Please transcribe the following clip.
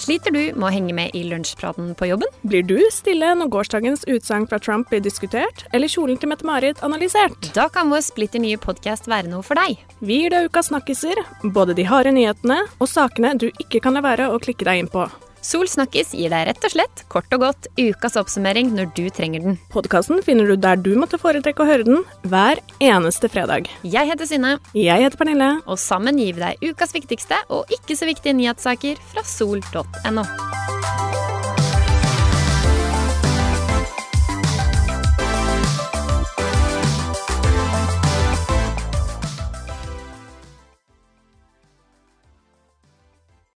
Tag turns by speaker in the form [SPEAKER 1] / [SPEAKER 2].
[SPEAKER 1] Sliter du med å henge med i lunsjpraten på jobben?
[SPEAKER 2] Blir du stille når gårsdagens utsagn fra Trump blir diskutert, eller kjolen til Mette-Marit analysert?
[SPEAKER 1] Da kan vår splitter nye podkast være noe for deg.
[SPEAKER 2] Vi gir deg ukas snakkiser, både de harde nyhetene og sakene du ikke kan la være å klikke deg inn på.
[SPEAKER 1] Sol snakkes gir deg rett og slett kort og godt ukas oppsummering når du trenger den.
[SPEAKER 2] Podkasten finner du der du måtte foretrekke å høre den, hver eneste fredag.
[SPEAKER 1] Jeg heter Synne,
[SPEAKER 2] Jeg heter Pernille.
[SPEAKER 1] og sammen gir vi deg ukas viktigste og ikke så viktige nyhetssaker fra sol.no.